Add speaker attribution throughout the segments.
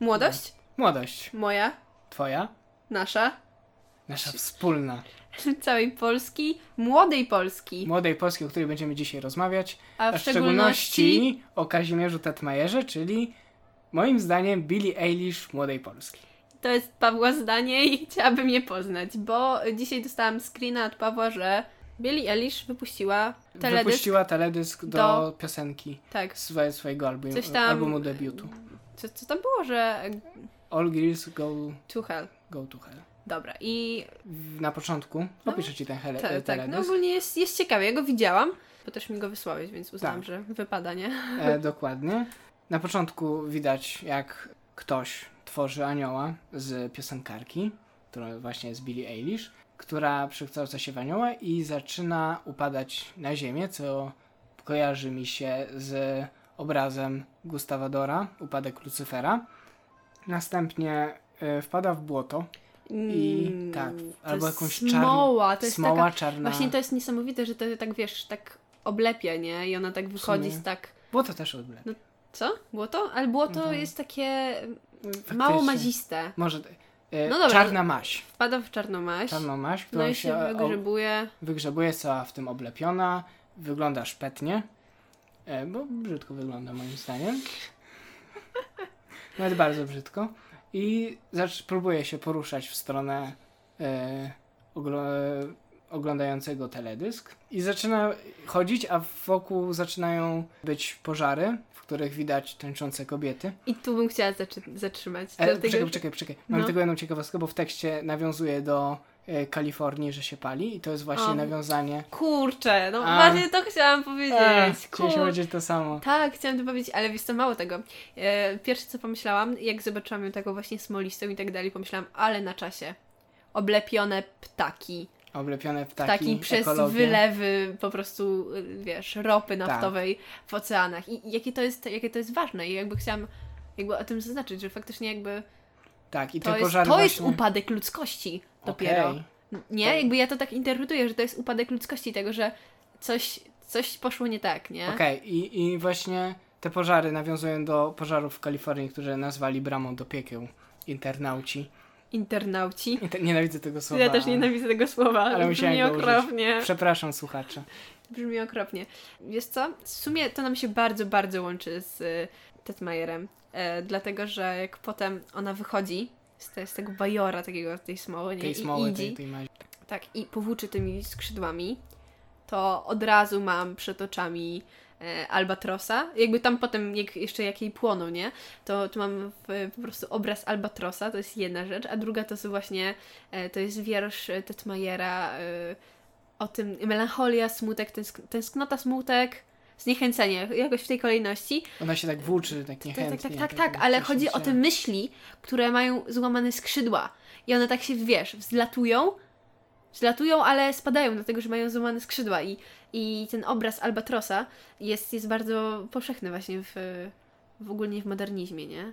Speaker 1: Młodość?
Speaker 2: Młodość.
Speaker 1: Moja,
Speaker 2: Twoja.
Speaker 1: nasza,
Speaker 2: Nasza wspólna.
Speaker 1: całej Polski, młodej Polski.
Speaker 2: Młodej Polski, o której będziemy dzisiaj rozmawiać.
Speaker 1: A w szczególności
Speaker 2: o Kazimierzu Tetmajerze, czyli moim zdaniem Billie Eilish młodej Polski.
Speaker 1: to jest Pawła zdanie i chciałabym je poznać, bo dzisiaj dostałam screena od Pawła, że Billie Eilish wypuściła teledysk.
Speaker 2: Wypuściła teledysk do,
Speaker 1: do-
Speaker 2: piosenki
Speaker 1: Tak,
Speaker 2: z swojego albumu,
Speaker 1: Coś tam-
Speaker 2: albumu debiutu.
Speaker 1: co, co to było, że
Speaker 2: All Girls Go,
Speaker 1: to hell.
Speaker 2: go to Hell.
Speaker 1: Dobra, i
Speaker 2: W- Na początku opiszę ci ten hele,
Speaker 1: tak, tak, no
Speaker 2: teledysk.
Speaker 1: ogólnie jest, jest ciekawie, ja go widziałam, bo też mi go wysłałeś, więc uznam,
Speaker 2: Tak.
Speaker 1: że wypada, nie?
Speaker 2: E, dokładnie. Na początku widać, jak ktoś tworzy anioła z piosenkarki, która właśnie jest Billie Eilish, która przekształca się w anioła i zaczyna upadać na ziemię, co kojarzy mi się z obrazem Gustawa Dora, Upadek Lucyfera. Następnie e, wpada w błoto i
Speaker 1: Mm,
Speaker 2: tak,
Speaker 1: to
Speaker 2: albo
Speaker 1: jest
Speaker 2: jakąś czarną,
Speaker 1: smoła, to jest
Speaker 2: smoła
Speaker 1: taka
Speaker 2: czarna.
Speaker 1: Właśnie to jest niesamowite, że to tak wiesz, tak oblepia, nie? I ona tak wychodzi z tak.
Speaker 2: Błoto też odblewa.
Speaker 1: Co? Błoto? Ale błoto
Speaker 2: Mhm.
Speaker 1: jest takie
Speaker 2: Faktycznie.
Speaker 1: mało maziste.
Speaker 2: Może e,
Speaker 1: No dobra,
Speaker 2: czarna maś.
Speaker 1: Wpada w czarnomaś,
Speaker 2: Czarną maś, którą
Speaker 1: no i
Speaker 2: się
Speaker 1: się
Speaker 2: o,
Speaker 1: wygrzebuje.
Speaker 2: wygrzebuje, jest cała w tym oblepiona, wygląda szpetnie, e, bo brzydko wygląda moim zdaniem. Nawet bardzo brzydko. I zacz, próbuje się poruszać w stronę e, oglo, e, oglądającego teledysk i zaczyna chodzić, a wokół zaczynają być pożary, w których widać tańczące kobiety.
Speaker 1: I tu bym chciała zaczy- zatrzymać.
Speaker 2: E,
Speaker 1: dlatego-
Speaker 2: Czekaj, czekaj, czekaj. Mam
Speaker 1: No.
Speaker 2: tylko jedną ciekawostkę, bo w tekście nawiązuje do e, Kalifornii, że się pali i to jest właśnie
Speaker 1: O.
Speaker 2: nawiązanie.
Speaker 1: Kurczę, no
Speaker 2: A.
Speaker 1: właśnie to chciałam powiedzieć.
Speaker 2: chcieliśmy
Speaker 1: Kur...
Speaker 2: powiedzieć to samo.
Speaker 1: Tak, chciałam to powiedzieć, ale wiesz co, mało tego. E, pierwsze co pomyślałam, jak zobaczyłam ją taką właśnie smolistą i tak dalej, pomyślałam, ale na czasie. Oblepione ptaki.
Speaker 2: Oblepione ptaki,
Speaker 1: Taki przez
Speaker 2: ekologię. Tak.
Speaker 1: wylewy po prostu, y, wiesz, ropy naftowej w oceanach. I i jakie to jest, jakie to jest ważne. I jakby chciałam jakby o tym zaznaczyć, że faktycznie jakby
Speaker 2: Tak, i
Speaker 1: to,
Speaker 2: te
Speaker 1: jest,
Speaker 2: pożary
Speaker 1: to jest
Speaker 2: właśnie...
Speaker 1: upadek ludzkości
Speaker 2: Okej.
Speaker 1: dopiero. Nie?
Speaker 2: To-
Speaker 1: Jakby ja to tak interpretuję, że to jest upadek ludzkości, tego, że coś, coś poszło nie tak, nie?
Speaker 2: Okej, I, i właśnie te pożary nawiązują do pożarów w Kalifornii, które nazwali bramą do piekieł internauci.
Speaker 1: Internauci.
Speaker 2: Inter... Nienawidzę tego słowa.
Speaker 1: Ja też nienawidzę tego słowa,
Speaker 2: Ale
Speaker 1: ale
Speaker 2: musiałem
Speaker 1: brzmi
Speaker 2: go użyć.
Speaker 1: okropnie.
Speaker 2: Przepraszam słuchacze.
Speaker 1: Brzmi okropnie. Wiesz co? W sumie to nam się bardzo, bardzo łączy z y, Tetmajerem, e, dlatego że jak potem ona wychodzi z, te, z tego bajora takiego, tej smoły, nie?
Speaker 2: Tej
Speaker 1: I
Speaker 2: smoły,
Speaker 1: idzie,
Speaker 2: tej, tej mazi.
Speaker 1: tak, i powłóczy tymi skrzydłami, to od razu mam przed oczami e, albatrosa. Jakby tam potem, jak, jeszcze jak jej płoną, nie? To tu mam w, po prostu obraz albatrosa, to jest jedna rzecz, a druga to są właśnie, e, to jest wiersz e, Tetmajera e, o tym melancholia, smutek, tęsk tęsknota, smutek, zniechęcenie, jakoś w tej kolejności.
Speaker 2: Ona się tak włóczy, tak
Speaker 1: Tak, tak,
Speaker 2: niechętnie.
Speaker 1: tak, tak, tak, ale chodzi o te myśli, które mają złamane skrzydła. I one tak się, wiesz, wzlatują, wzlatują, ale spadają, dlatego że mają złamane skrzydła. I, i ten obraz albatrosa jest, jest bardzo powszechny właśnie w, w ogólnie w modernizmie, nie?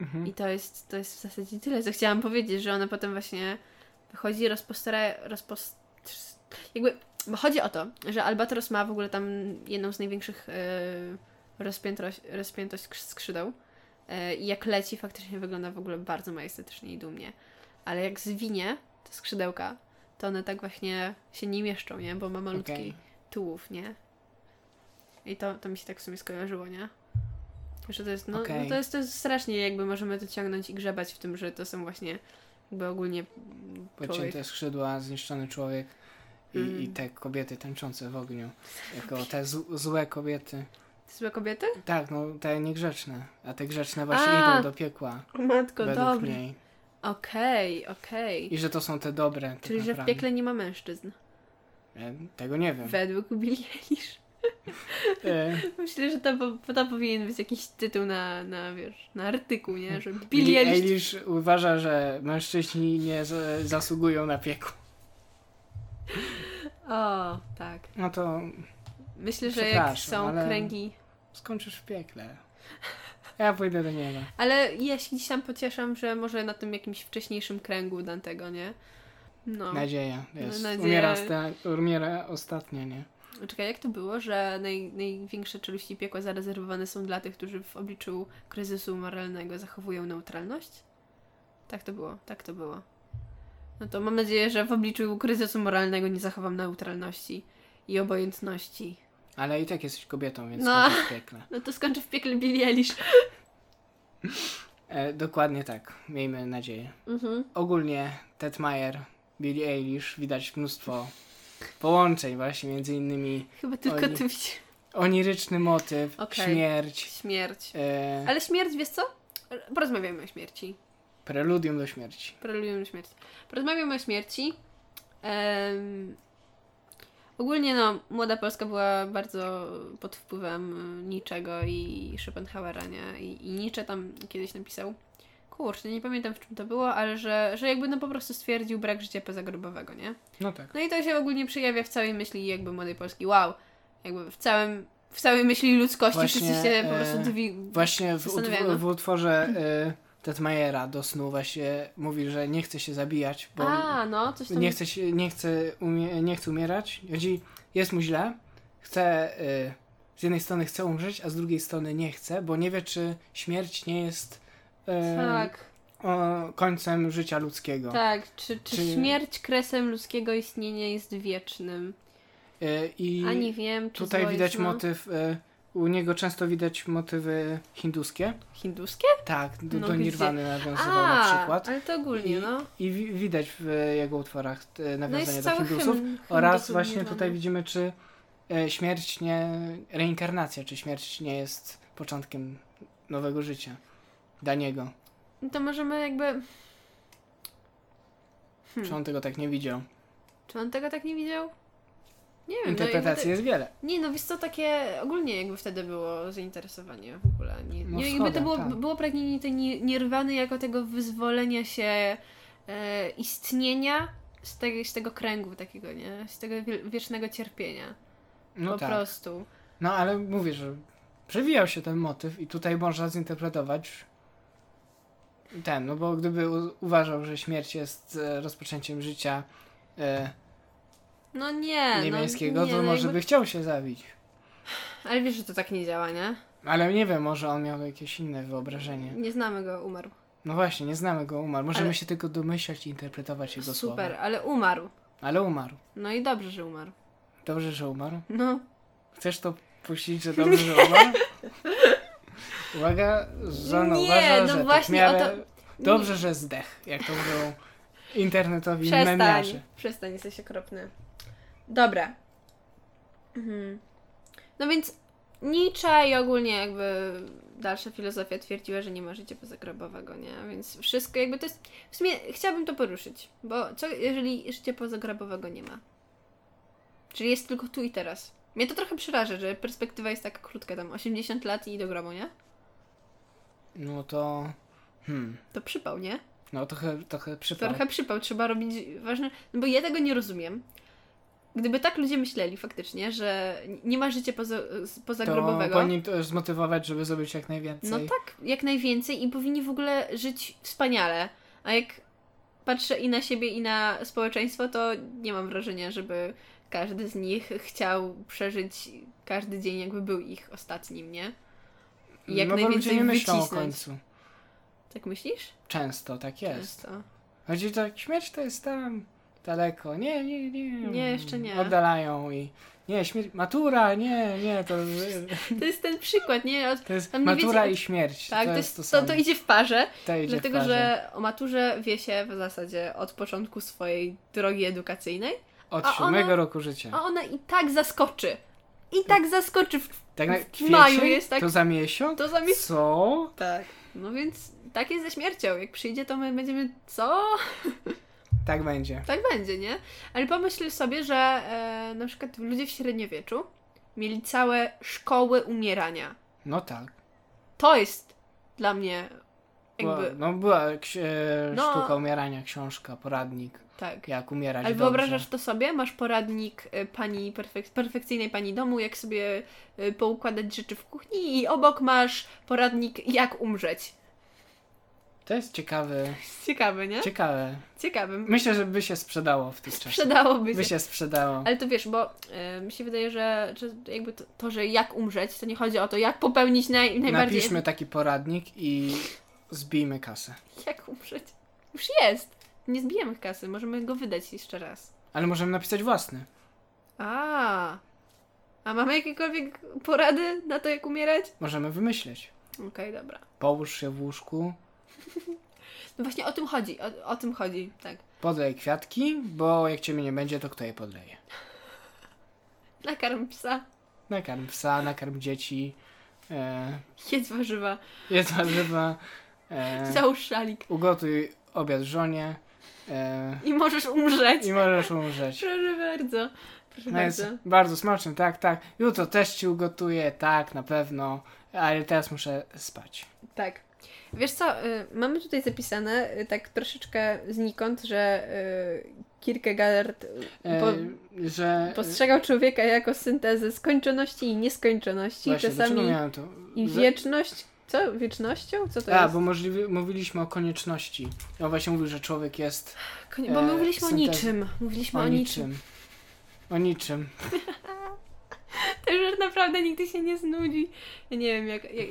Speaker 2: Mhm.
Speaker 1: I to jest, to jest w zasadzie tyle, co chciałam powiedzieć, że ona potem właśnie wychodzi, rozpostara, rozpost... jakby, bo chodzi o to, że Albatros ma w ogóle tam jedną z największych yy, rozpiętość, rozpiętość skrz- skrzydeł e, i jak leci faktycznie wygląda w ogóle bardzo majestatycznie i dumnie, ale jak zwinie te skrzydełka, to one tak właśnie się nie mieszczą, nie? Bo ma malutki
Speaker 2: Okej.
Speaker 1: tułów, nie? I to, to mi się tak w sumie skojarzyło, nie? Że to jest, no,
Speaker 2: Okej.
Speaker 1: no to jest, to jest strasznie, jakby możemy to ciągnąć i grzebać w tym, że to są właśnie jakby ogólnie mm, człowiek.
Speaker 2: Pocięte skrzydła, zniszczony człowiek i,
Speaker 1: Mhm.
Speaker 2: i te kobiety tańczące w ogniu. Jako te z- złe kobiety.
Speaker 1: Złe kobiety?
Speaker 2: Tak, no te niegrzeczne, a te grzeczne właśnie
Speaker 1: A!
Speaker 2: idą do piekła.
Speaker 1: Matko,
Speaker 2: według
Speaker 1: dobry.
Speaker 2: niej.
Speaker 1: Okej, okej.
Speaker 2: I że to są te dobre. tak
Speaker 1: Czyli, że w
Speaker 2: naprawdę.
Speaker 1: piekle nie ma mężczyzn.
Speaker 2: E, Tego nie wiem.
Speaker 1: Według Billie Eilish.
Speaker 2: E,
Speaker 1: Myślę, że to, po- to powinien być jakiś tytuł na, na, wiesz, na artykuł, nie? Że Billie
Speaker 2: Billie
Speaker 1: Eilish
Speaker 2: Eilish uważa, że mężczyźni nie z- zasługują na piekło.
Speaker 1: O, tak.
Speaker 2: No to
Speaker 1: Myślę, że jak
Speaker 2: Przepraszam,
Speaker 1: są
Speaker 2: ale-
Speaker 1: kręgi
Speaker 2: skończysz w piekle. Ja pójdę do nieba.
Speaker 1: Ale ja się gdzieś tam pocieszam, że może na tym jakimś wcześniejszym kręgu Dantego, nie? No.
Speaker 2: Nadzieja
Speaker 1: No,
Speaker 2: jest.
Speaker 1: nadzieja.
Speaker 2: Umiera, sta- umiera ostatnia, nie?
Speaker 1: Czekaj, jak to było, że naj, największe czeluści piekła zarezerwowane są dla tych, którzy w obliczu kryzysu moralnego zachowują neutralność? Tak to było, tak to było. No to mam nadzieję, że w obliczu kryzysu moralnego nie zachowam neutralności i obojętności.
Speaker 2: Ale i tak jesteś kobietą, więc
Speaker 1: No.
Speaker 2: no. w piekle.
Speaker 1: No to skończę w piekle Billie Eilish.
Speaker 2: E, dokładnie tak, miejmy nadzieję.
Speaker 1: Mhm.
Speaker 2: Ogólnie Ted Meyer, Billie Eilish, widać mnóstwo połączeń właśnie, między innymi
Speaker 1: Chyba tylko
Speaker 2: Oj.
Speaker 1: ty widzisz.
Speaker 2: oniryczny motyw,
Speaker 1: Okej.
Speaker 2: śmierć,
Speaker 1: Śmierć.
Speaker 2: e,
Speaker 1: Ale śmierć, wiesz co? Porozmawiamy o śmierci.
Speaker 2: preludium do śmierci.
Speaker 1: Preludium do śmierci. Porozmawiam o śmierci. Em, ogólnie no, młoda Polska była bardzo pod wpływem y, niczego i Schopenhauera, nie? I, i Nietzsche tam kiedyś napisał, kurczę, nie pamiętam w czym to było, ale że, że jakby no po prostu stwierdził brak życia pozagrobowego, nie?
Speaker 2: No tak.
Speaker 1: No i to się ogólnie przejawia w całej myśli jakby młodej Polski. Wow! Jakby w całym, w całej myśli ludzkości
Speaker 2: Właśnie,
Speaker 1: wszyscy się po
Speaker 2: e,
Speaker 1: prostu dwi...
Speaker 2: Właśnie w,
Speaker 1: Zastanawiano.
Speaker 2: utw- w utworze y, Ted Meyera do snu właśnie mówi, że nie chce się zabijać, bo
Speaker 1: A, no, coś tam...
Speaker 2: nie chce, się, nie, chce umie, nie chce umierać. Chodzi, jest mu źle, chce, y, z jednej strony chce umrzeć, a z drugiej strony nie chce, bo nie wie, czy śmierć nie jest y,
Speaker 1: Tak.
Speaker 2: o, końcem życia ludzkiego.
Speaker 1: Tak, czy, czy,
Speaker 2: Czy-
Speaker 1: śmierć kresem ludzkiego istnienia jest wiecznym?
Speaker 2: Y, I
Speaker 1: A nie wiem, czy
Speaker 2: tutaj
Speaker 1: zło
Speaker 2: widać
Speaker 1: jest, no.
Speaker 2: motyw, y, u niego często widać motywy hinduskie.
Speaker 1: Hinduskie?
Speaker 2: Tak, do,
Speaker 1: No
Speaker 2: do
Speaker 1: gdzie?
Speaker 2: Nirwany nawiązywał na przykład.
Speaker 1: ale to ogólnie,
Speaker 2: I,
Speaker 1: no.
Speaker 2: I wi- widać w e, jego utworach e,
Speaker 1: No
Speaker 2: nawiązanie
Speaker 1: jest
Speaker 2: do
Speaker 1: cały
Speaker 2: Hindusów.
Speaker 1: hymn.
Speaker 2: oraz
Speaker 1: Hindusów
Speaker 2: właśnie
Speaker 1: Nirwany.
Speaker 2: tutaj widzimy, czy e, śmierć nie. reinkarnacja, czy śmierć nie jest początkiem nowego życia dla niego.
Speaker 1: No To możemy jakby... Hmm.
Speaker 2: Czy on tego tak nie widział?
Speaker 1: Czy on tego tak nie widział? Nie wiem.
Speaker 2: Interpretacji
Speaker 1: No, jakby
Speaker 2: jest wiele.
Speaker 1: te... Nie, no wiesz co, takie ogólnie jakby wtedy było zainteresowanie w ogóle. Nie,
Speaker 2: No
Speaker 1: nie, jakby
Speaker 2: zgoda,
Speaker 1: to było,
Speaker 2: tak.
Speaker 1: było pragnienie tej ni- nirwany jako tego wyzwolenia się e, istnienia z tego, z tego kręgu takiego, nie? Z tego wie- wiecznego cierpienia.
Speaker 2: No
Speaker 1: po
Speaker 2: tak.
Speaker 1: prostu.
Speaker 2: No ale mówię, że przewijał się ten motyw i tutaj można zinterpretować ten, no bo gdyby u- uważał, że śmierć jest e, rozpoczęciem życia e,
Speaker 1: No nie.
Speaker 2: niebiańskiego,
Speaker 1: no, nie,
Speaker 2: to
Speaker 1: no
Speaker 2: może
Speaker 1: jakby...
Speaker 2: by chciał się zabić.
Speaker 1: Ale wiesz, że to tak nie działa, nie?
Speaker 2: Ale nie wiem, może on miał jakieś inne wyobrażenie.
Speaker 1: Nie znamy go, umarł.
Speaker 2: No właśnie, nie znamy go, umarł. Możemy
Speaker 1: Ale-
Speaker 2: się tylko domyślać i interpretować jego
Speaker 1: Super,
Speaker 2: słowa.
Speaker 1: ale umarł.
Speaker 2: Ale umarł.
Speaker 1: No i dobrze, że umarł.
Speaker 2: Dobrze, że umarł.
Speaker 1: No.
Speaker 2: Chcesz to puścić, że dobrze, że umarł? Uwaga, żona
Speaker 1: Nie,
Speaker 2: uważa,
Speaker 1: no
Speaker 2: że
Speaker 1: właśnie
Speaker 2: tak w miarę...
Speaker 1: o
Speaker 2: Dobrze, że zdech, jak to mówią internetowi
Speaker 1: Przestań.
Speaker 2: memiarze.
Speaker 1: Przestań, jesteś okropny. Dobra. Mhm. No więc Nietzsche i ogólnie jakby dalsza filozofia twierdziła, że nie ma życia pozagrobowego, nie? Więc wszystko jakby to jest... W sumie chciałabym to poruszyć, bo co jeżeli życia pozagrobowego nie ma? Czyli jest tylko tu i teraz. Mnie to trochę przeraża, że perspektywa jest taka krótka, tam 80 lat i do grobu, nie?
Speaker 2: No to... Hmm.
Speaker 1: To przypał, nie?
Speaker 2: No trochę, trochę przypał.
Speaker 1: Trochę przypał, trzeba robić ważne. No bo ja tego nie rozumiem. Gdyby tak ludzie myśleli faktycznie, że nie ma życia poza, z-
Speaker 2: To
Speaker 1: pozagrobowego,
Speaker 2: powinien to zmotywować, żeby zrobić jak najwięcej.
Speaker 1: no tak, jak najwięcej i powinni w ogóle żyć wspaniale. A jak patrzę i na siebie, i na społeczeństwo, to nie mam wrażenia, żeby każdy z nich chciał przeżyć każdy dzień, jakby był ich ostatnim, nie? I jak
Speaker 2: no bo
Speaker 1: najwięcej
Speaker 2: ludzie nie myślą o
Speaker 1: wycisnąć.
Speaker 2: końcu.
Speaker 1: Tak myślisz?
Speaker 2: Często tak jest.
Speaker 1: Często.
Speaker 2: Chodzi tak, śmierć to jest tam daleko. Nie, nie, nie.
Speaker 1: Nie, jeszcze nie.
Speaker 2: Oddalają i. Nie, śmierć. Matura, nie, nie, to,
Speaker 1: To jest ten przykład, nie? Od...
Speaker 2: to jest
Speaker 1: Tam nie
Speaker 2: matura
Speaker 1: wiecie-
Speaker 2: i śmierć.
Speaker 1: No Tak,
Speaker 2: to,
Speaker 1: to,
Speaker 2: jest to,
Speaker 1: jest, to,
Speaker 2: samo.
Speaker 1: to idzie w parze.
Speaker 2: To idzie w
Speaker 1: Dlatego,
Speaker 2: parze.
Speaker 1: że o maturze wie się w zasadzie od początku swojej drogi edukacyjnej,
Speaker 2: Od
Speaker 1: a
Speaker 2: siódmego
Speaker 1: ona-
Speaker 2: roku życia.
Speaker 1: a ona i tak zaskoczy. I tak zaskoczy w
Speaker 2: tak na
Speaker 1: w
Speaker 2: kwiecień,
Speaker 1: maju jest tak-
Speaker 2: To za miesiąc?
Speaker 1: to zamiast.
Speaker 2: Co?
Speaker 1: Tak. No więc tak jest ze śmiercią. Jak przyjdzie, to my będziemy. Co?
Speaker 2: Tak będzie.
Speaker 1: Tak będzie, nie? Ale pomyśl sobie, że e, na przykład ludzie w średniowieczu mieli całe szkoły umierania.
Speaker 2: No tak.
Speaker 1: To jest dla mnie
Speaker 2: Była,
Speaker 1: jakby.
Speaker 2: No była ksi- e,
Speaker 1: No.
Speaker 2: sztuka umierania, książka, poradnik.
Speaker 1: Tak.
Speaker 2: Jak umierać
Speaker 1: Ale
Speaker 2: dobrze.
Speaker 1: wyobrażasz to sobie? Masz poradnik y, pani perfek- perfekcyjnej pani domu, jak sobie y, poukładać rzeczy w kuchni i obok masz poradnik jak umrzeć.
Speaker 2: To jest ciekawy,
Speaker 1: Ciekawe, nie?
Speaker 2: ciekawe.
Speaker 1: Ciekawe.
Speaker 2: Myślę, że by się sprzedało w tych czasach.
Speaker 1: Przydałoby się.
Speaker 2: By się sprzedało.
Speaker 1: Ale to wiesz, bo y, mi się wydaje, że, że jakby to, to, że jak umrzeć, to nie chodzi o to, jak popełnić naj, najbardziej.
Speaker 2: Napiszmy taki poradnik i zbijmy kasę.
Speaker 1: Jak umrzeć? Już jest! Nie zbijemy kasy, możemy go wydać jeszcze raz.
Speaker 2: Ale możemy napisać własny.
Speaker 1: A. A mamy jakiekolwiek porady na to, jak umierać?
Speaker 2: Możemy wymyśleć.
Speaker 1: Okej, dobra.
Speaker 2: Połóż się w łóżku,
Speaker 1: No właśnie o tym chodzi, o, o tym chodzi, tak.
Speaker 2: podlej kwiatki, bo jak ciebie nie będzie, to kto je podleje?
Speaker 1: Nakarm psa,
Speaker 2: Nakarm psa, nakarm dzieci, e,
Speaker 1: jedz warzywa,
Speaker 2: jedz warzywa, e,
Speaker 1: załóż szalik
Speaker 2: ugotuj obiad żonie e,
Speaker 1: i możesz umrzeć.
Speaker 2: i możesz umrzeć.
Speaker 1: Proszę bardzo. Proszę
Speaker 2: No
Speaker 1: bardzo.
Speaker 2: jest bardzo smaczny, tak, tak. Jutro też ci ugotuję, tak, na pewno, ale teraz muszę spać.
Speaker 1: Tak. Wiesz co, y, mamy tutaj zapisane y, tak troszeczkę znikąd, że y, Kierkegaard y,
Speaker 2: E,
Speaker 1: po,
Speaker 2: że
Speaker 1: postrzegał człowieka jako syntezę skończoności i nieskończoności,
Speaker 2: właśnie, dlaczego
Speaker 1: czasami
Speaker 2: miałem to?
Speaker 1: i
Speaker 2: Że-
Speaker 1: wieczność. Co? Wiecznością? Co to
Speaker 2: A,
Speaker 1: jest?
Speaker 2: bo możliwy, mówiliśmy o konieczności. On właśnie mówił, że człowiek jest
Speaker 1: Konie- bo my
Speaker 2: e,
Speaker 1: mówiliśmy o
Speaker 2: syntezę.
Speaker 1: niczym. Mówiliśmy
Speaker 2: o
Speaker 1: No, o niczym.
Speaker 2: niczym. O niczym.
Speaker 1: Ten żart naprawdę nigdy się nie znudzi. Ja nie wiem, jak, jak,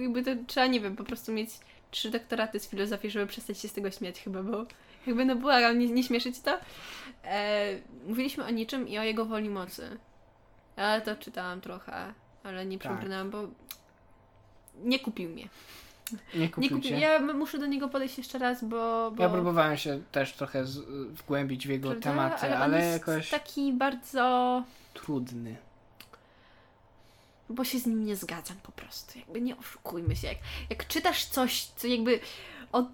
Speaker 1: jakby to trzeba, nie wiem, po prostu mieć trzy doktoraty z filozofii, żeby przestać się z tego śmiać chyba, bo jakby no błagam, nie, nie śmieszyć to. E, mówiliśmy o niczym i o jego woli mocy. Ja to czytałam trochę, ale nie
Speaker 2: Tak.
Speaker 1: przebrnęłam, bo nie kupił mnie.
Speaker 2: Nie
Speaker 1: Nie
Speaker 2: kupił
Speaker 1: kupił.
Speaker 2: cię.
Speaker 1: Ja m- muszę do niego podejść jeszcze raz, bo... bo
Speaker 2: Ja próbowałem się też trochę z, y, wgłębić w jego
Speaker 1: prawda?
Speaker 2: tematy, ale,
Speaker 1: on jest tak
Speaker 2: jakoś
Speaker 1: taki bardzo...
Speaker 2: trudny.
Speaker 1: bo się z nim nie zgadzam po prostu. Jakby nie oszukujmy się. Jak, jak czytasz coś, co jakby od.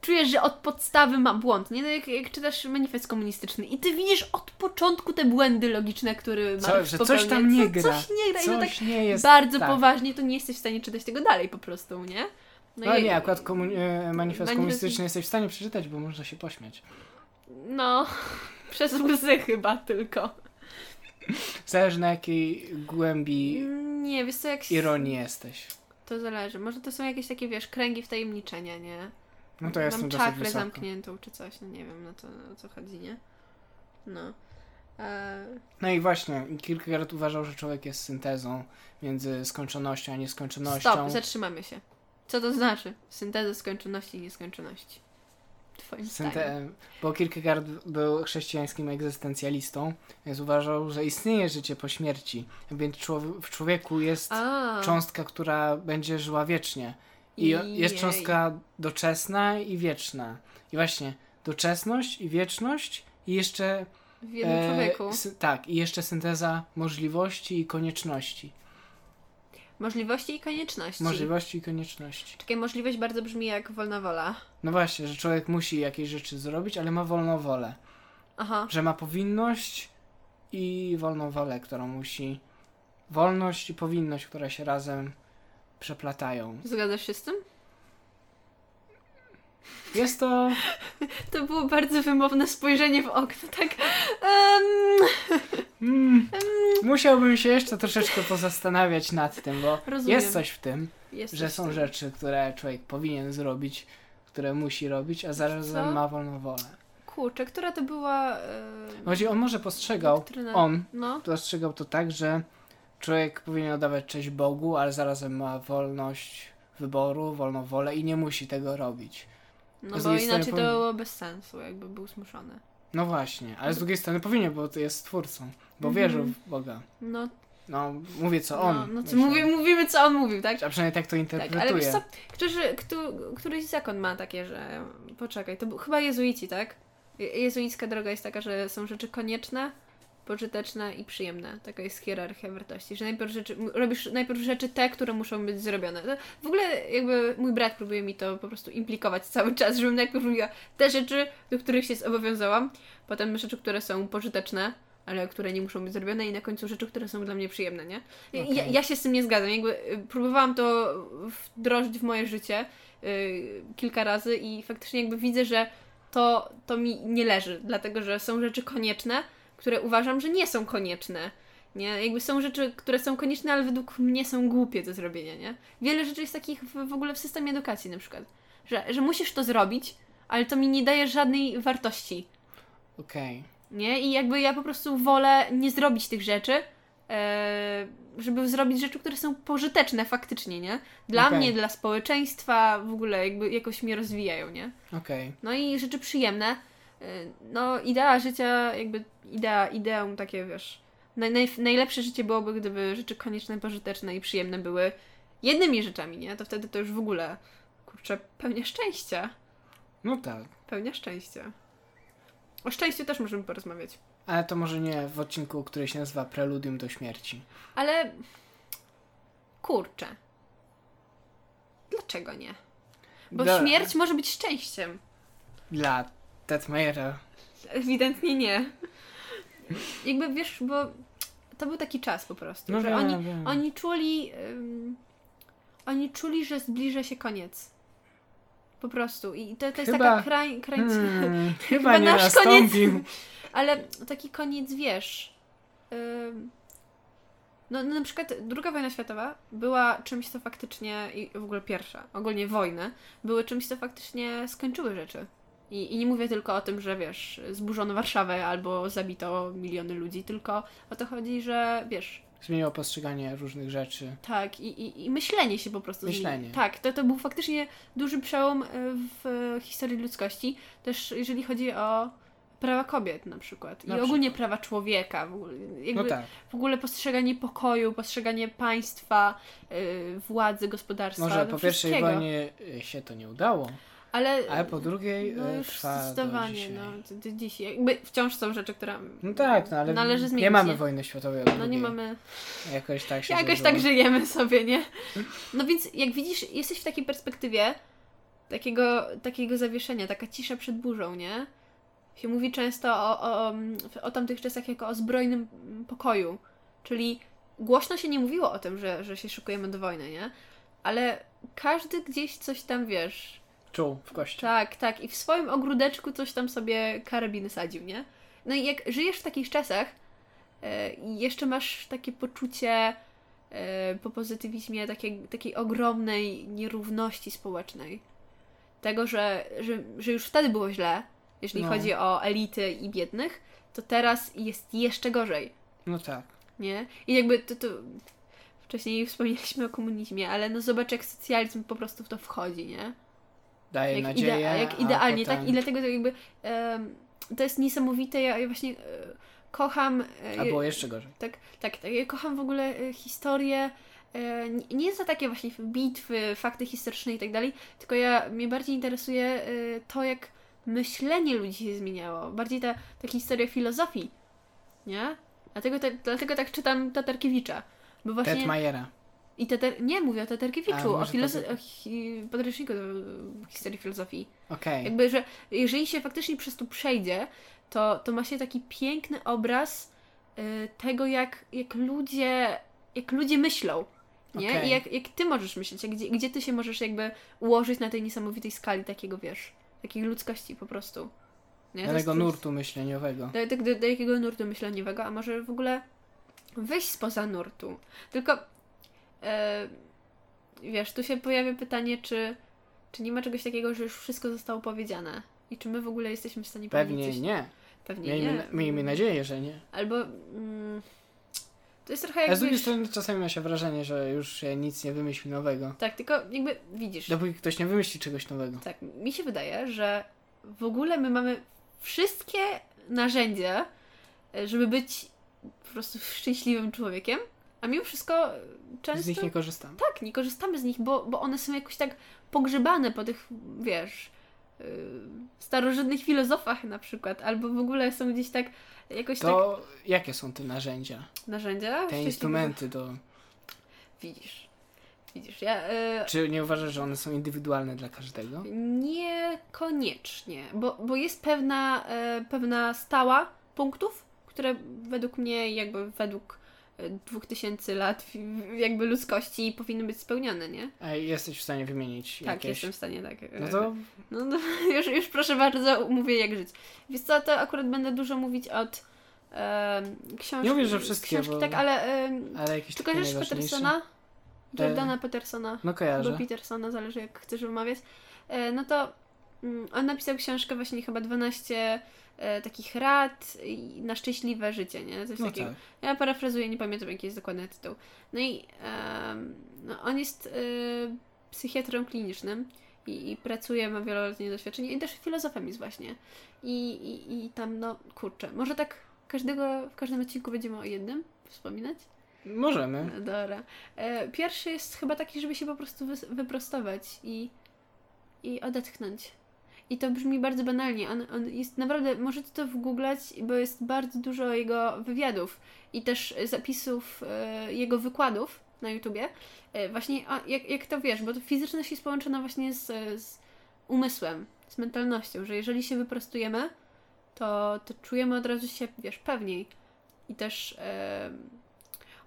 Speaker 1: Czujesz, że od podstawy ma błąd, nie? No jak, jak czytasz manifest komunistyczny i ty widzisz od początku te błędy logiczne, które
Speaker 2: Co-
Speaker 1: Marx
Speaker 2: że coś
Speaker 1: popełnia.
Speaker 2: tam nie
Speaker 1: Co,
Speaker 2: gra.
Speaker 1: Coś nie gra. I to tak
Speaker 2: Coś nie jest...
Speaker 1: bardzo
Speaker 2: tak.
Speaker 1: poważnie, to nie jesteś w stanie czytać tego dalej po prostu, nie?
Speaker 2: No
Speaker 1: i-
Speaker 2: nie, akurat komu- e, manifest
Speaker 1: Manifest-
Speaker 2: komunistyczny jesteś w stanie przeczytać, bo można się pośmiać.
Speaker 1: No, przez łzy chyba tylko.
Speaker 2: Zależy na jakiej głębi
Speaker 1: Nie, wiesz co, jak się...
Speaker 2: ironii jesteś.
Speaker 1: To zależy. Może to są jakieś takie, wiesz, kręgi wtajemniczenia, nie?
Speaker 2: No to ja jestem
Speaker 1: Mam
Speaker 2: dosyć
Speaker 1: czakrę
Speaker 2: wysoko.
Speaker 1: zamkniętą czy coś, no nie wiem na to o co chodzi, nie? No. E,
Speaker 2: No i właśnie, Kierkegaard uważał, że człowiek jest syntezą między skończonością a nieskończonością.
Speaker 1: stop, zatrzymamy się. Co to znaczy? Synteza skończoności i nieskończoności. Twoim zdaniem.
Speaker 2: Synte- bo Kierkegaard był chrześcijańskim egzystencjalistą, więc uważał, że istnieje życie po śmierci, więc człow- w człowieku jest
Speaker 1: A,
Speaker 2: cząstka, która będzie żyła wiecznie. I jest
Speaker 1: Jej.
Speaker 2: cząstka doczesna i wieczna. I właśnie doczesność i wieczność i jeszcze...
Speaker 1: w jednym
Speaker 2: e,
Speaker 1: człowieku.
Speaker 2: sy- tak, i jeszcze synteza możliwości i konieczności.
Speaker 1: Możliwości i konieczności.
Speaker 2: Możliwości i konieczności.
Speaker 1: Czekaj, możliwość bardzo brzmi jak wolna wola.
Speaker 2: No właśnie, że człowiek musi jakieś rzeczy zrobić, ale ma wolną wolę.
Speaker 1: Aha.
Speaker 2: że ma powinność i wolną wolę, którą musi. Wolność i powinność, które się razem przeplatają.
Speaker 1: Zgadzasz się z tym?
Speaker 2: Jest to.
Speaker 1: To było bardzo wymowne spojrzenie w okno, tak. Em,
Speaker 2: Mm, musiałbym się jeszcze troszeczkę pozastanawiać nad tym, bo
Speaker 1: Rozumiem.
Speaker 2: jest coś w tym,
Speaker 1: jest
Speaker 2: że
Speaker 1: coś w
Speaker 2: są
Speaker 1: tym.
Speaker 2: rzeczy, które człowiek powinien zrobić, które musi robić, a zarazem
Speaker 1: co?
Speaker 2: ma wolną wolę.
Speaker 1: Kurczę, która to była. E,
Speaker 2: Chodzi, on może postrzegał,
Speaker 1: doktryna?
Speaker 2: on
Speaker 1: No.
Speaker 2: postrzegał to tak, że człowiek powinien oddawać cześć Bogu, ale zarazem ma wolność wyboru, wolną wolę i nie musi tego robić.
Speaker 1: No
Speaker 2: Z
Speaker 1: bo
Speaker 2: drugiej strony
Speaker 1: inaczej to
Speaker 2: powin-
Speaker 1: było bez sensu, jakby był zmuszony.
Speaker 2: No właśnie, ale z drugiej strony powinien, bo to jest twórcą, bo
Speaker 1: Mhm.
Speaker 2: wierzył w Boga.
Speaker 1: No,
Speaker 2: No, mówię co on.
Speaker 1: no, no co
Speaker 2: myślę.
Speaker 1: mówię, mówimy, co on mówił, tak?
Speaker 2: A przynajmniej tak to
Speaker 1: Tak,
Speaker 2: interpretuje.
Speaker 1: ale wiesz co, którzy, któ, któryś zakon ma takie, że poczekaj, to był, chyba jezuici, tak? Je- Jezuicka droga jest taka, że są rzeczy konieczne, pożyteczne i przyjemne. Taka jest hierarchia wartości, że najpierw rzeczy, m- robisz najpierw rzeczy te, które muszą być zrobione. To W ogóle jakby mój brat próbuje mi to po prostu implikować cały czas, żebym najpierw robiła te rzeczy, do których się zobowiązałam, potem rzeczy, które są pożyteczne, ale które nie muszą być zrobione i na końcu rzeczy, które są dla mnie przyjemne, nie? Ja-
Speaker 2: Okej.
Speaker 1: Ja, ja się z tym nie zgadzam. Jakby y, próbowałam to wdrożyć w moje życie y, kilka razy i faktycznie jakby widzę, że to, to mi nie leży, dlatego że są rzeczy konieczne, które uważam, że nie są konieczne. Nie? Jakby są rzeczy, które są konieczne, ale według mnie są głupie do zrobienia, nie? Wiele rzeczy jest takich w, w ogóle w systemie edukacji na przykład, że, że musisz to zrobić, ale to mi nie daje żadnej wartości.
Speaker 2: Okej.
Speaker 1: Nie? I jakby ja po prostu wolę nie zrobić tych rzeczy, e, żeby zrobić rzeczy, które są pożyteczne faktycznie, nie? Dla
Speaker 2: Okej.
Speaker 1: mnie, dla społeczeństwa, w ogóle jakby jakoś mnie rozwijają, nie?
Speaker 2: Okej.
Speaker 1: No i rzeczy przyjemne. e, No, idea życia, jakby idea, ideum takie, wiesz. Naj, naj, najlepsze życie byłoby, gdyby rzeczy konieczne, pożyteczne i przyjemne były jednymi rzeczami, nie? To wtedy to już w ogóle, kurczę, pełnia szczęścia.
Speaker 2: No tak.
Speaker 1: Pełnia szczęścia. O szczęściu też możemy porozmawiać.
Speaker 2: Ale to może nie w odcinku, który się nazywa Preludium do śmierci.
Speaker 1: Ale kurczę. Dlaczego nie? Bo
Speaker 2: Dla-
Speaker 1: śmierć może być szczęściem.
Speaker 2: Dla Tetmajera.
Speaker 1: Ewidentnie nie. Jakby wiesz, bo to był taki czas po prostu, że oni,
Speaker 2: No wiem.
Speaker 1: oni czuli ym, oni czuli, że zbliża się koniec. Po prostu. I to, to jest taka
Speaker 2: Chyba-
Speaker 1: krań, krańc...
Speaker 2: Hmm,
Speaker 1: Chyba
Speaker 2: chyba nie
Speaker 1: nasz koniec.
Speaker 2: nastąpił.
Speaker 1: Ale taki koniec, wiesz. Ym, no, no na przykład druga wojna światowa była czymś, co faktycznie, i w ogóle pierwsza, ogólnie wojny, były czymś, co faktycznie skończyły rzeczy. I, I nie mówię tylko o tym, że wiesz, zburzono Warszawę albo zabito miliony ludzi, tylko o to chodzi, że wiesz,
Speaker 2: Zmieniło postrzeganie różnych rzeczy.
Speaker 1: tak, i, i, i myślenie się po prostu zmieni-
Speaker 2: Myślenie.
Speaker 1: Tak, to, to był faktycznie duży przełom y, w y, historii ludzkości, też jeżeli chodzi o prawa kobiet na przykład. I
Speaker 2: Na
Speaker 1: ogólnie prawa człowieka. W ogóle, jakby
Speaker 2: No tak.
Speaker 1: w ogóle postrzeganie pokoju, postrzeganie państwa, y, władzy, gospodarstwa.
Speaker 2: Może
Speaker 1: no
Speaker 2: po pierwszej
Speaker 1: wszystkiego.
Speaker 2: wojnie y, się to nie udało,
Speaker 1: ale,
Speaker 2: ale po drugiej
Speaker 1: no
Speaker 2: y,
Speaker 1: już
Speaker 2: trwa do
Speaker 1: zdecydowanie,
Speaker 2: dzisiaj.
Speaker 1: no, d- d- dzisiaj. Jakby wciąż są rzeczy, które
Speaker 2: No tak, no ale
Speaker 1: należy zmienić.
Speaker 2: nie mamy wojny światowej od
Speaker 1: No nie
Speaker 2: drugiej.
Speaker 1: mamy
Speaker 2: Jakoś tak się
Speaker 1: Jakoś
Speaker 2: złożyło.
Speaker 1: tak żyjemy sobie, nie? No więc jak widzisz, jesteś w takiej perspektywie takiego, takiego zawieszenia, taka cisza przed burzą, nie? Się mówi często o, o, o, mm, o tamtych czasach jako o zbrojnym mm, pokoju. Czyli głośno się nie mówiło o tym, że, że się szykujemy do wojny, nie? Ale każdy gdzieś coś tam wiesz.
Speaker 2: Czuł w kości.
Speaker 1: Tak, tak. I w swoim ogródeczku coś tam sobie karabin sadził, nie? No i jak żyjesz w takich czasach, e, i jeszcze masz takie poczucie e, po pozytywizmie takiej, takiej ogromnej nierówności społecznej. Tego, że, że, że już wtedy było źle, jeżeli
Speaker 2: No.
Speaker 1: chodzi o elity i biednych, to teraz jest jeszcze gorzej,
Speaker 2: No tak.
Speaker 1: nie? I jakby to, to wcześniej wspomnieliśmy o komunizmie, ale no zobacz jak socjalizm po prostu w to wchodzi, nie?
Speaker 2: Daje
Speaker 1: Jak,
Speaker 2: nadzieję.
Speaker 1: idea, jak
Speaker 2: a
Speaker 1: idealnie,
Speaker 2: potem...
Speaker 1: tak? I dlatego to jakby em, to jest niesamowite, ja, ja właśnie e, kocham... e,
Speaker 2: A było jeszcze gorzej.
Speaker 1: tak, tak, tak. Ja kocham w ogóle e, historię. e, nie- Nie za takie właśnie bitwy, fakty historyczne i tak dalej, tylko ja mnie bardziej interesuje e, to, jak myślenie ludzi się zmieniało. Bardziej ta, ta historia filozofii, nie? Dlatego, te, dlatego tak czytam Tatarkiewicza. Bo właśnie.
Speaker 2: Ted Majera.
Speaker 1: I tater, nie, mówię o
Speaker 2: A,
Speaker 1: Tatarkiewiczu, o,
Speaker 2: może
Speaker 1: filozo-
Speaker 2: Tatar-
Speaker 1: o hi- podręczniku do historii filozofii.
Speaker 2: Okej.
Speaker 1: Jakby, że jeżeli się faktycznie przez to przejdzie, to, to ma się taki piękny obraz y, tego, jak, jak ludzie jak ludzie myślą. Nie?
Speaker 2: Okej.
Speaker 1: I jak, jak ty możesz myśleć, jak, gdzie, gdzie ty się możesz jakby ułożyć na tej niesamowitej skali takiego, wiesz, takiej ludzkości po prostu. Nie? To jest-
Speaker 2: Danego
Speaker 1: to jest-
Speaker 2: nurtu myśleniowego.
Speaker 1: do, tak do, do jakiego nurtu myśleniowego, a może w ogóle wyjść spoza nurtu. Tylko e, wiesz, tu się pojawia pytanie, czy, czy nie ma czegoś takiego, że już wszystko zostało powiedziane i czy my w ogóle jesteśmy w stanie powiedzieć
Speaker 2: Pewnie
Speaker 1: coś?
Speaker 2: nie.
Speaker 1: Pewnie
Speaker 2: Miejmy,
Speaker 1: nie.
Speaker 2: miejmy nadzieję, że nie.
Speaker 1: Albo mm, to jest trochę
Speaker 2: A z
Speaker 1: jakby...
Speaker 2: drugiej strony czasami ma się wrażenie, że już się nic nie wymyśli nowego.
Speaker 1: Tak, tylko jakby widzisz,
Speaker 2: Dopóki ktoś nie wymyśli czegoś nowego.
Speaker 1: tak, mi się wydaje, że w ogóle my mamy wszystkie narzędzia, e, żeby być po prostu szczęśliwym człowiekiem, a mimo wszystko e, często...
Speaker 2: Z nich nie korzystam.
Speaker 1: tak, nie korzystamy z nich, bo, bo one są jakoś tak pogrzebane po tych, wiesz, yy, starożytnych filozofach na przykład, albo w ogóle są gdzieś tak jakoś tak
Speaker 2: To jakie są te narzędzia?
Speaker 1: narzędzia.
Speaker 2: Te
Speaker 1: szczęśliwe-
Speaker 2: instrumenty do...
Speaker 1: Widzisz. Widzisz, ja yy,
Speaker 2: Czy nie uważasz, że one są indywidualne dla każdego?
Speaker 1: niekoniecznie, bo, bo jest pewna, yy, pewna stała punktów, które według mnie jakby według yy, 2000 lat w- jakby ludzkości powinny być spełnione, nie?
Speaker 2: A jesteś w stanie wymienić
Speaker 1: Tak,
Speaker 2: jakieś...
Speaker 1: jestem w stanie tak.
Speaker 2: No
Speaker 1: yy,
Speaker 2: to
Speaker 1: No, no już, już proszę bardzo, mówię jak żyć. Więc co, to akurat będę dużo mówić od em, książki.
Speaker 2: Nie mówię, że wszystkie,
Speaker 1: Książki,
Speaker 2: bo-
Speaker 1: tak, ale... Um,
Speaker 2: ale jakieś
Speaker 1: czy
Speaker 2: takie
Speaker 1: kojarzysz
Speaker 2: najważniejsze.
Speaker 1: Petersona?
Speaker 2: E,
Speaker 1: Jordana Petersona.
Speaker 2: No
Speaker 1: Albo
Speaker 2: kojarzę.
Speaker 1: Petersona, zależy jak chcesz wymawiać. e, no to mm, on napisał książkę właśnie chyba 12 e, takich rad i- na szczęśliwe życie, nie? Coś
Speaker 2: No
Speaker 1: takiego.
Speaker 2: tak.
Speaker 1: Ja parafrazuję, nie pamiętam jaki jest dokładny tytuł. No i em, no, on jest e, psychiatrą klinicznym i, i pracuje, ma wieloletnie doświadczenie i też filozofem jest właśnie. I, i, i tam, no kurczę, może tak każdego, w każdym odcinku będziemy o jednym wspominać?
Speaker 2: Możemy.
Speaker 1: No, dobra. E, pierwszy jest chyba taki, żeby się po prostu wys- wyprostować i, i odetchnąć. I to brzmi bardzo banalnie. On, on jest naprawdę, możecie to wgooglać, bo jest bardzo dużo jego wywiadów i też zapisów e, jego wykładów na YouTubie. E, właśnie a, jak, jak to wiesz, bo to fizyczność jest połączona właśnie z, z umysłem, z mentalnością, że jeżeli się wyprostujemy, to, to czujemy od razu się, wiesz, pewniej. I też e,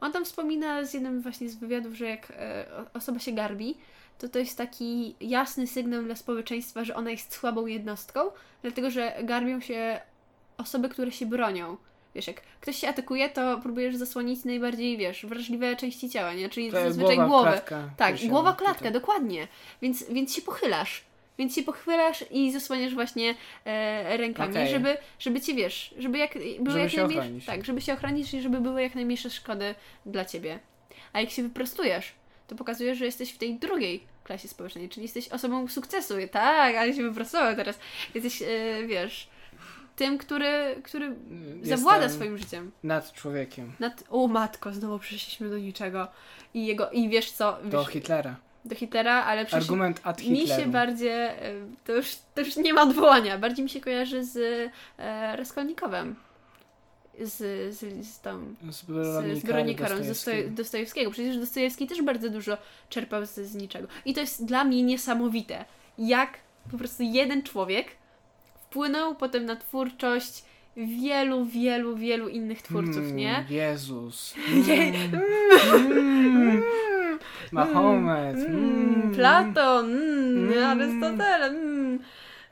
Speaker 1: on tam wspomina z jednym właśnie z wywiadów, że jak e, o- osoba się garbi, to to jest taki jasny sygnał dla społeczeństwa, że ona jest słabą jednostką, dlatego że garbią się osoby, które się bronią. Wiesz, jak ktoś się atakuje, to próbujesz zasłonić najbardziej, wiesz, wrażliwe części ciała, nie? Czyli zazwyczaj głowę.
Speaker 2: klatka
Speaker 1: Tak,
Speaker 2: piersiowa,
Speaker 1: głowa klatka,
Speaker 2: tutaj.
Speaker 1: dokładnie. Więc, więc się pochylasz. Więc się pochylasz i zasłaniasz właśnie e, rękami,
Speaker 2: Okej.
Speaker 1: żeby, żeby ci wiesz, żeby jak, były
Speaker 2: Żeby
Speaker 1: jak
Speaker 2: się
Speaker 1: najmniejsze.
Speaker 2: ochronić.
Speaker 1: Tak, żeby się ochronić i żeby były jak najmniejsze szkody dla ciebie. A jak się wyprostujesz, to pokazujesz, że jesteś w tej drugiej klasie społecznej, czyli jesteś osobą sukcesu. Tak, ale się wyprostował teraz. Jesteś, e, wiesz, tym, który, który
Speaker 2: Jestem
Speaker 1: zawłada swoim życiem.
Speaker 2: Nad człowiekiem.
Speaker 1: Nad... O matko, znowu przeszliśmy do niczego. I jego, i wiesz co, wiesz,
Speaker 2: Do Hitlera.
Speaker 1: do Hitlera, ale przecież
Speaker 2: Argument ad
Speaker 1: mi się
Speaker 2: Hitleru.
Speaker 1: bardziej, e, to już, to już nie ma odwołania, bardziej mi się kojarzy z e, Raskolnikowem. Z, z, z tą,
Speaker 2: Z
Speaker 1: z, z
Speaker 2: Weronika Hmm,
Speaker 1: Weroniką Rą, z Dostoj,
Speaker 2: Dostojewskiego.
Speaker 1: Dostojewskiego. Przecież Dostojewski też bardzo dużo czerpał z, z niczego. I to jest dla mnie niesamowite, jak po prostu jeden człowiek wpłynął potem na twórczość wielu, wielu, wielu innych twórców,
Speaker 2: Mm,
Speaker 1: nie?
Speaker 2: Jezus. Hmm.
Speaker 1: Nie.
Speaker 2: Mm. Mahomet.
Speaker 1: Mm,
Speaker 2: Mm.
Speaker 1: Platon, mm,
Speaker 2: Mm.
Speaker 1: Arystotel, mm.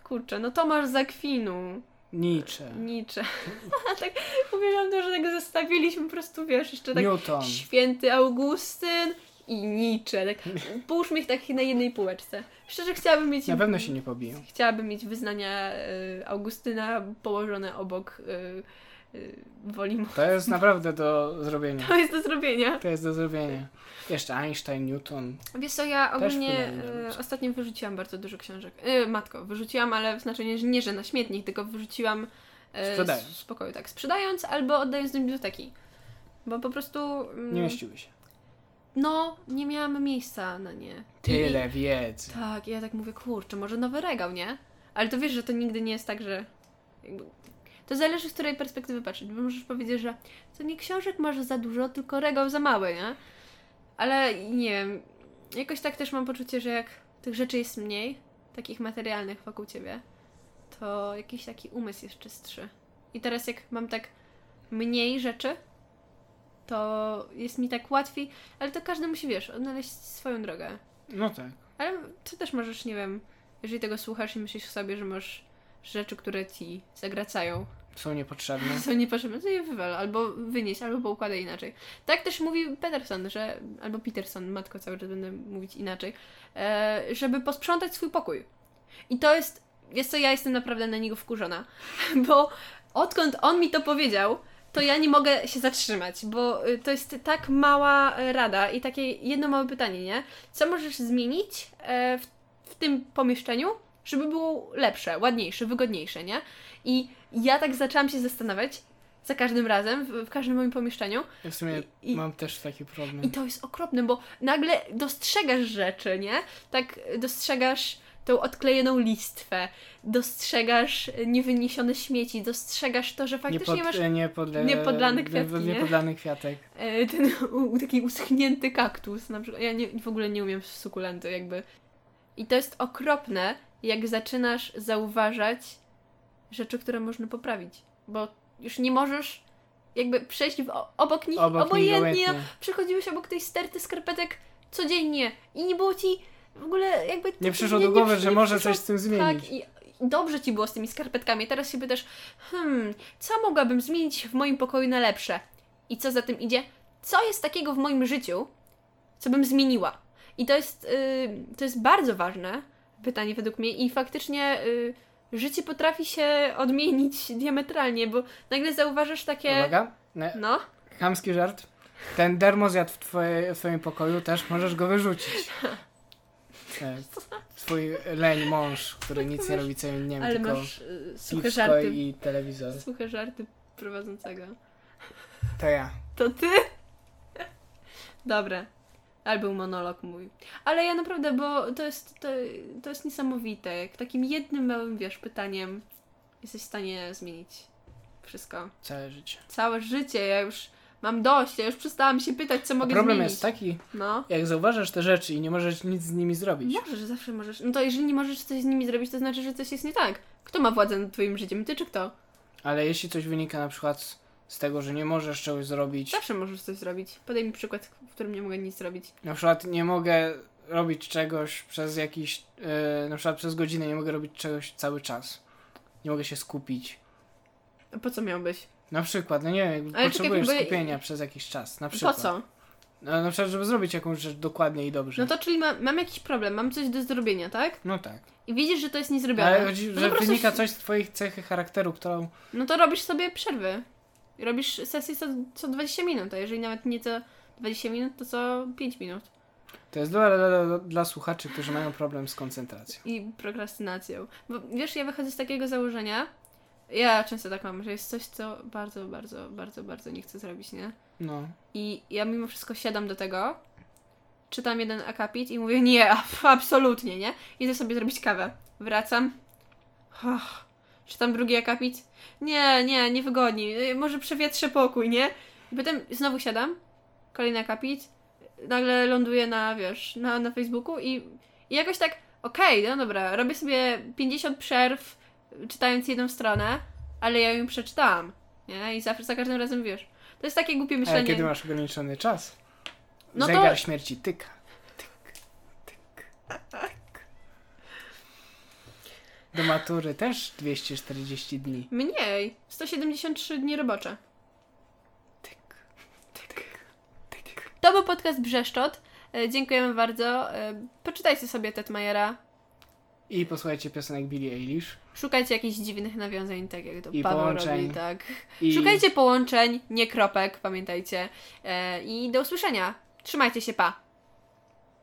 Speaker 1: Kurczę, no Tomasz z Akwinu,
Speaker 2: Nietzsche.
Speaker 1: Nietzsche. tak, uwielbiam to, że tego zestawiliśmy po prostu, wiesz, jeszcze tak
Speaker 2: Newton.
Speaker 1: święty Augustyn i Nietzsche. Tak, połóżmy ich tak na jednej półeczce. Szczerze chciałabym mieć...
Speaker 2: Na pewno się nie pobiją.
Speaker 1: Chciałabym mieć wyznania y, Augustyna położone obok y, y, woli mo-
Speaker 2: To jest naprawdę do zrobienia.
Speaker 1: To jest do zrobienia.
Speaker 2: To jest do zrobienia. Jeszcze Einstein, Newton.
Speaker 1: Wiesz co, ja ogólnie
Speaker 2: powinien
Speaker 1: e,
Speaker 2: robić.
Speaker 1: ostatnio wyrzuciłam bardzo dużo książek. E, matko, wyrzuciłam, ale w znaczeniu, że nie, że na śmietnik, tylko wyrzuciłam e,
Speaker 2: Sprzedając.
Speaker 1: z- z pokoju, tak, sprzedając albo oddając do biblioteki. Bo po prostu mm,
Speaker 2: Nie mieściły się.
Speaker 1: no, nie miałam miejsca na nie.
Speaker 2: Tyle wiedzy.
Speaker 1: I, tak, i ja tak mówię, kurczę, może nowy regał, nie? Ale to wiesz, że to nigdy nie jest tak, że jakby, to zależy z której perspektywy patrzeć, bo możesz powiedzieć, że to nie książek masz za dużo, tylko regał za mały, nie? Ale nie wiem, jakoś tak też mam poczucie, że jak tych rzeczy jest mniej, takich materialnych wokół ciebie, to jakiś taki umysł jest czystszy. I teraz jak mam tak mniej rzeczy, to jest mi tak łatwiej, ale to każdy musi, wiesz, odnaleźć swoją drogę.
Speaker 2: No tak.
Speaker 1: Ale ty też możesz, nie wiem, jeżeli tego słuchasz i myślisz sobie, że masz rzeczy, które ci zagracają,
Speaker 2: Są niepotrzebne.
Speaker 1: są niepotrzebne, to je wywal, albo wynieś, albo poukładaj inaczej. Tak też mówi Peterson, że, albo Peterson, matko, cały czas będę mówić inaczej, e, żeby posprzątać swój pokój. I to jest, wiesz co, ja jestem naprawdę na niego wkurzona, bo odkąd on mi to powiedział, to ja nie mogę się zatrzymać, bo y, to jest tak mała y, rada i takie jedno małe pytanie, nie? Co możesz zmienić e, w, w tym pomieszczeniu, żeby było lepsze, ładniejsze, wygodniejsze, nie? I ja tak zaczęłam się zastanawiać za każdym razem, w, w każdym moim pomieszczeniu.
Speaker 2: Ja w sumie
Speaker 1: I- i-
Speaker 2: mam też taki problem.
Speaker 1: I to jest okropne, bo nagle dostrzegasz rzeczy, nie? Tak y, dostrzegasz tą odklejoną listwę, dostrzegasz y, niewyniesione śmieci, dostrzegasz to, że faktycznie
Speaker 2: pod- e,
Speaker 1: masz
Speaker 2: nie podle,
Speaker 1: niepodlane kwiatki,
Speaker 2: nie-
Speaker 1: nie?
Speaker 2: niepodlany kwiatek.
Speaker 1: E, ten u, taki uschnięty kaktus na przykład. Ja nie, w ogóle nie umiem sukulenty jakby. I to jest okropne, jak zaczynasz zauważać rzeczy, które można poprawić, bo już nie możesz jakby przejść w, o- obok nich
Speaker 2: Obok
Speaker 1: obojętnie.
Speaker 2: nieobojętnie.
Speaker 1: Przechodziłeś obok tej sterty skarpetek codziennie i nie było ci w ogóle jakby...
Speaker 2: Nie przyszło do głowy, że może coś z tym zmienić.
Speaker 1: Tak, i dobrze ci było z tymi skarpetkami. Teraz się pytasz, hmm, co mogłabym zmienić w moim pokoju na lepsze? I co za tym idzie? Co jest takiego w moim życiu, co bym zmieniła? I to jest, y, to jest bardzo ważne, pytanie według mnie i faktycznie y, życie potrafi się odmienić diametralnie, bo nagle zauważasz takie...
Speaker 2: Uwaga. Ne,
Speaker 1: No,
Speaker 2: chamski żart. Ten dermozjad w, twoje, w twoim pokoju też możesz go wyrzucić. E, Twój leń mąż, który nic nie robi całymi dniem,
Speaker 1: ale
Speaker 2: tylko
Speaker 1: masz y, suche
Speaker 2: piwko
Speaker 1: żarty,
Speaker 2: i telewizor.
Speaker 1: suche żarty prowadzącego.
Speaker 2: To ja.
Speaker 1: To ty? Dobra. Albo monolog mój. Ale ja naprawdę, bo to jest, to, to jest niesamowite. Jak takim jednym małym, wiesz, pytaniem jesteś w stanie zmienić wszystko.
Speaker 2: Całe życie.
Speaker 1: Całe życie. Ja już mam dość. Ja już przestałam się pytać, co
Speaker 2: A
Speaker 1: mogę
Speaker 2: problem
Speaker 1: zmienić.
Speaker 2: jest taki,
Speaker 1: No.
Speaker 2: jak zauważasz te rzeczy i nie możesz nic z nimi zrobić.
Speaker 1: Możesz, zawsze możesz. No to jeżeli nie możesz coś z nimi zrobić, to znaczy, że coś jest nie tak. Kto ma władzę nad twoim życiem? Ty czy kto?
Speaker 2: Ale jeśli coś wynika na przykład z- z tego, że nie możesz czegoś zrobić,
Speaker 1: Zawsze możesz coś zrobić. Podaj mi przykład, w którym nie mogę nic zrobić.
Speaker 2: na przykład nie mogę robić czegoś przez jakiś, e, na przykład przez godzinę nie mogę robić czegoś cały czas. Nie mogę się skupić.
Speaker 1: A Po co miałbyś?
Speaker 2: Na przykład, no nie wiem, jakby
Speaker 1: Ale
Speaker 2: potrzebujesz
Speaker 1: czekaj, bo-
Speaker 2: skupienia przez jakiś czas, na
Speaker 1: Po
Speaker 2: przykład.
Speaker 1: co?
Speaker 2: No, na przykład, żeby zrobić jakąś rzecz dokładnie i dobrze.
Speaker 1: No to czyli mam, mam jakiś problem, mam coś do zrobienia, tak?
Speaker 2: No tak.
Speaker 1: I widzisz, że to jest niezrobione.
Speaker 2: Ale chodzi,
Speaker 1: no,
Speaker 2: że
Speaker 1: to prostu-
Speaker 2: wynika coś z twoich cechy charakteru, którą...
Speaker 1: no to robisz sobie przerwy. Robisz sesję co, co 20 minut, a jeżeli nawet nie co 20 minut, to co 5 minut.
Speaker 2: To jest dla, dla, dla, dla słuchaczy, którzy mają problem z koncentracją.
Speaker 1: I prokrastynacją. Bo wiesz, ja wychodzę z takiego założenia, ja często tak mam, że jest coś, co bardzo, bardzo, bardzo, bardzo nie chcę zrobić, nie?
Speaker 2: No.
Speaker 1: I ja mimo wszystko siadam do tego, czytam jeden akapit i mówię, nie, ab- absolutnie, nie? Idę sobie zrobić kawę. Wracam. Och, czytam drugi akapit. Nie, nie, niewygodnie. Y, Może przewietrzę pokój, nie? I potem znowu siadam, kolejny akapit. Nagle ląduję na, wiesz, na, na Facebooku i, i jakoś tak, okej, no dobra, robię sobie 50 przerw y, czytając jedną stronę, ale ja ją przeczytałam, nie? I zawsze, za każdym razem, wiesz, to jest takie głupie myślenie.
Speaker 2: Ale kiedy masz ograniczony czas,
Speaker 1: No to-
Speaker 2: zegar śmierci tyka. Tyk, tyk, tyk. Do matury też 240 dni.
Speaker 1: Mniej. 173 dni robocze.
Speaker 2: Tyk, tyk, tyk.
Speaker 1: To był podcast Brzeszczot. E, Dziękujemy bardzo. E, Poczytajcie sobie Tetmajera.
Speaker 2: I posłuchajcie piosenek Billie Eilish.
Speaker 1: Szukajcie jakichś dziwnych nawiązań, tak jak to
Speaker 2: I
Speaker 1: Paweł
Speaker 2: połączeń.
Speaker 1: robi. Tak.
Speaker 2: I
Speaker 1: Szukajcie połączeń, nie kropek, pamiętajcie. E, I do usłyszenia. Trzymajcie się, pa.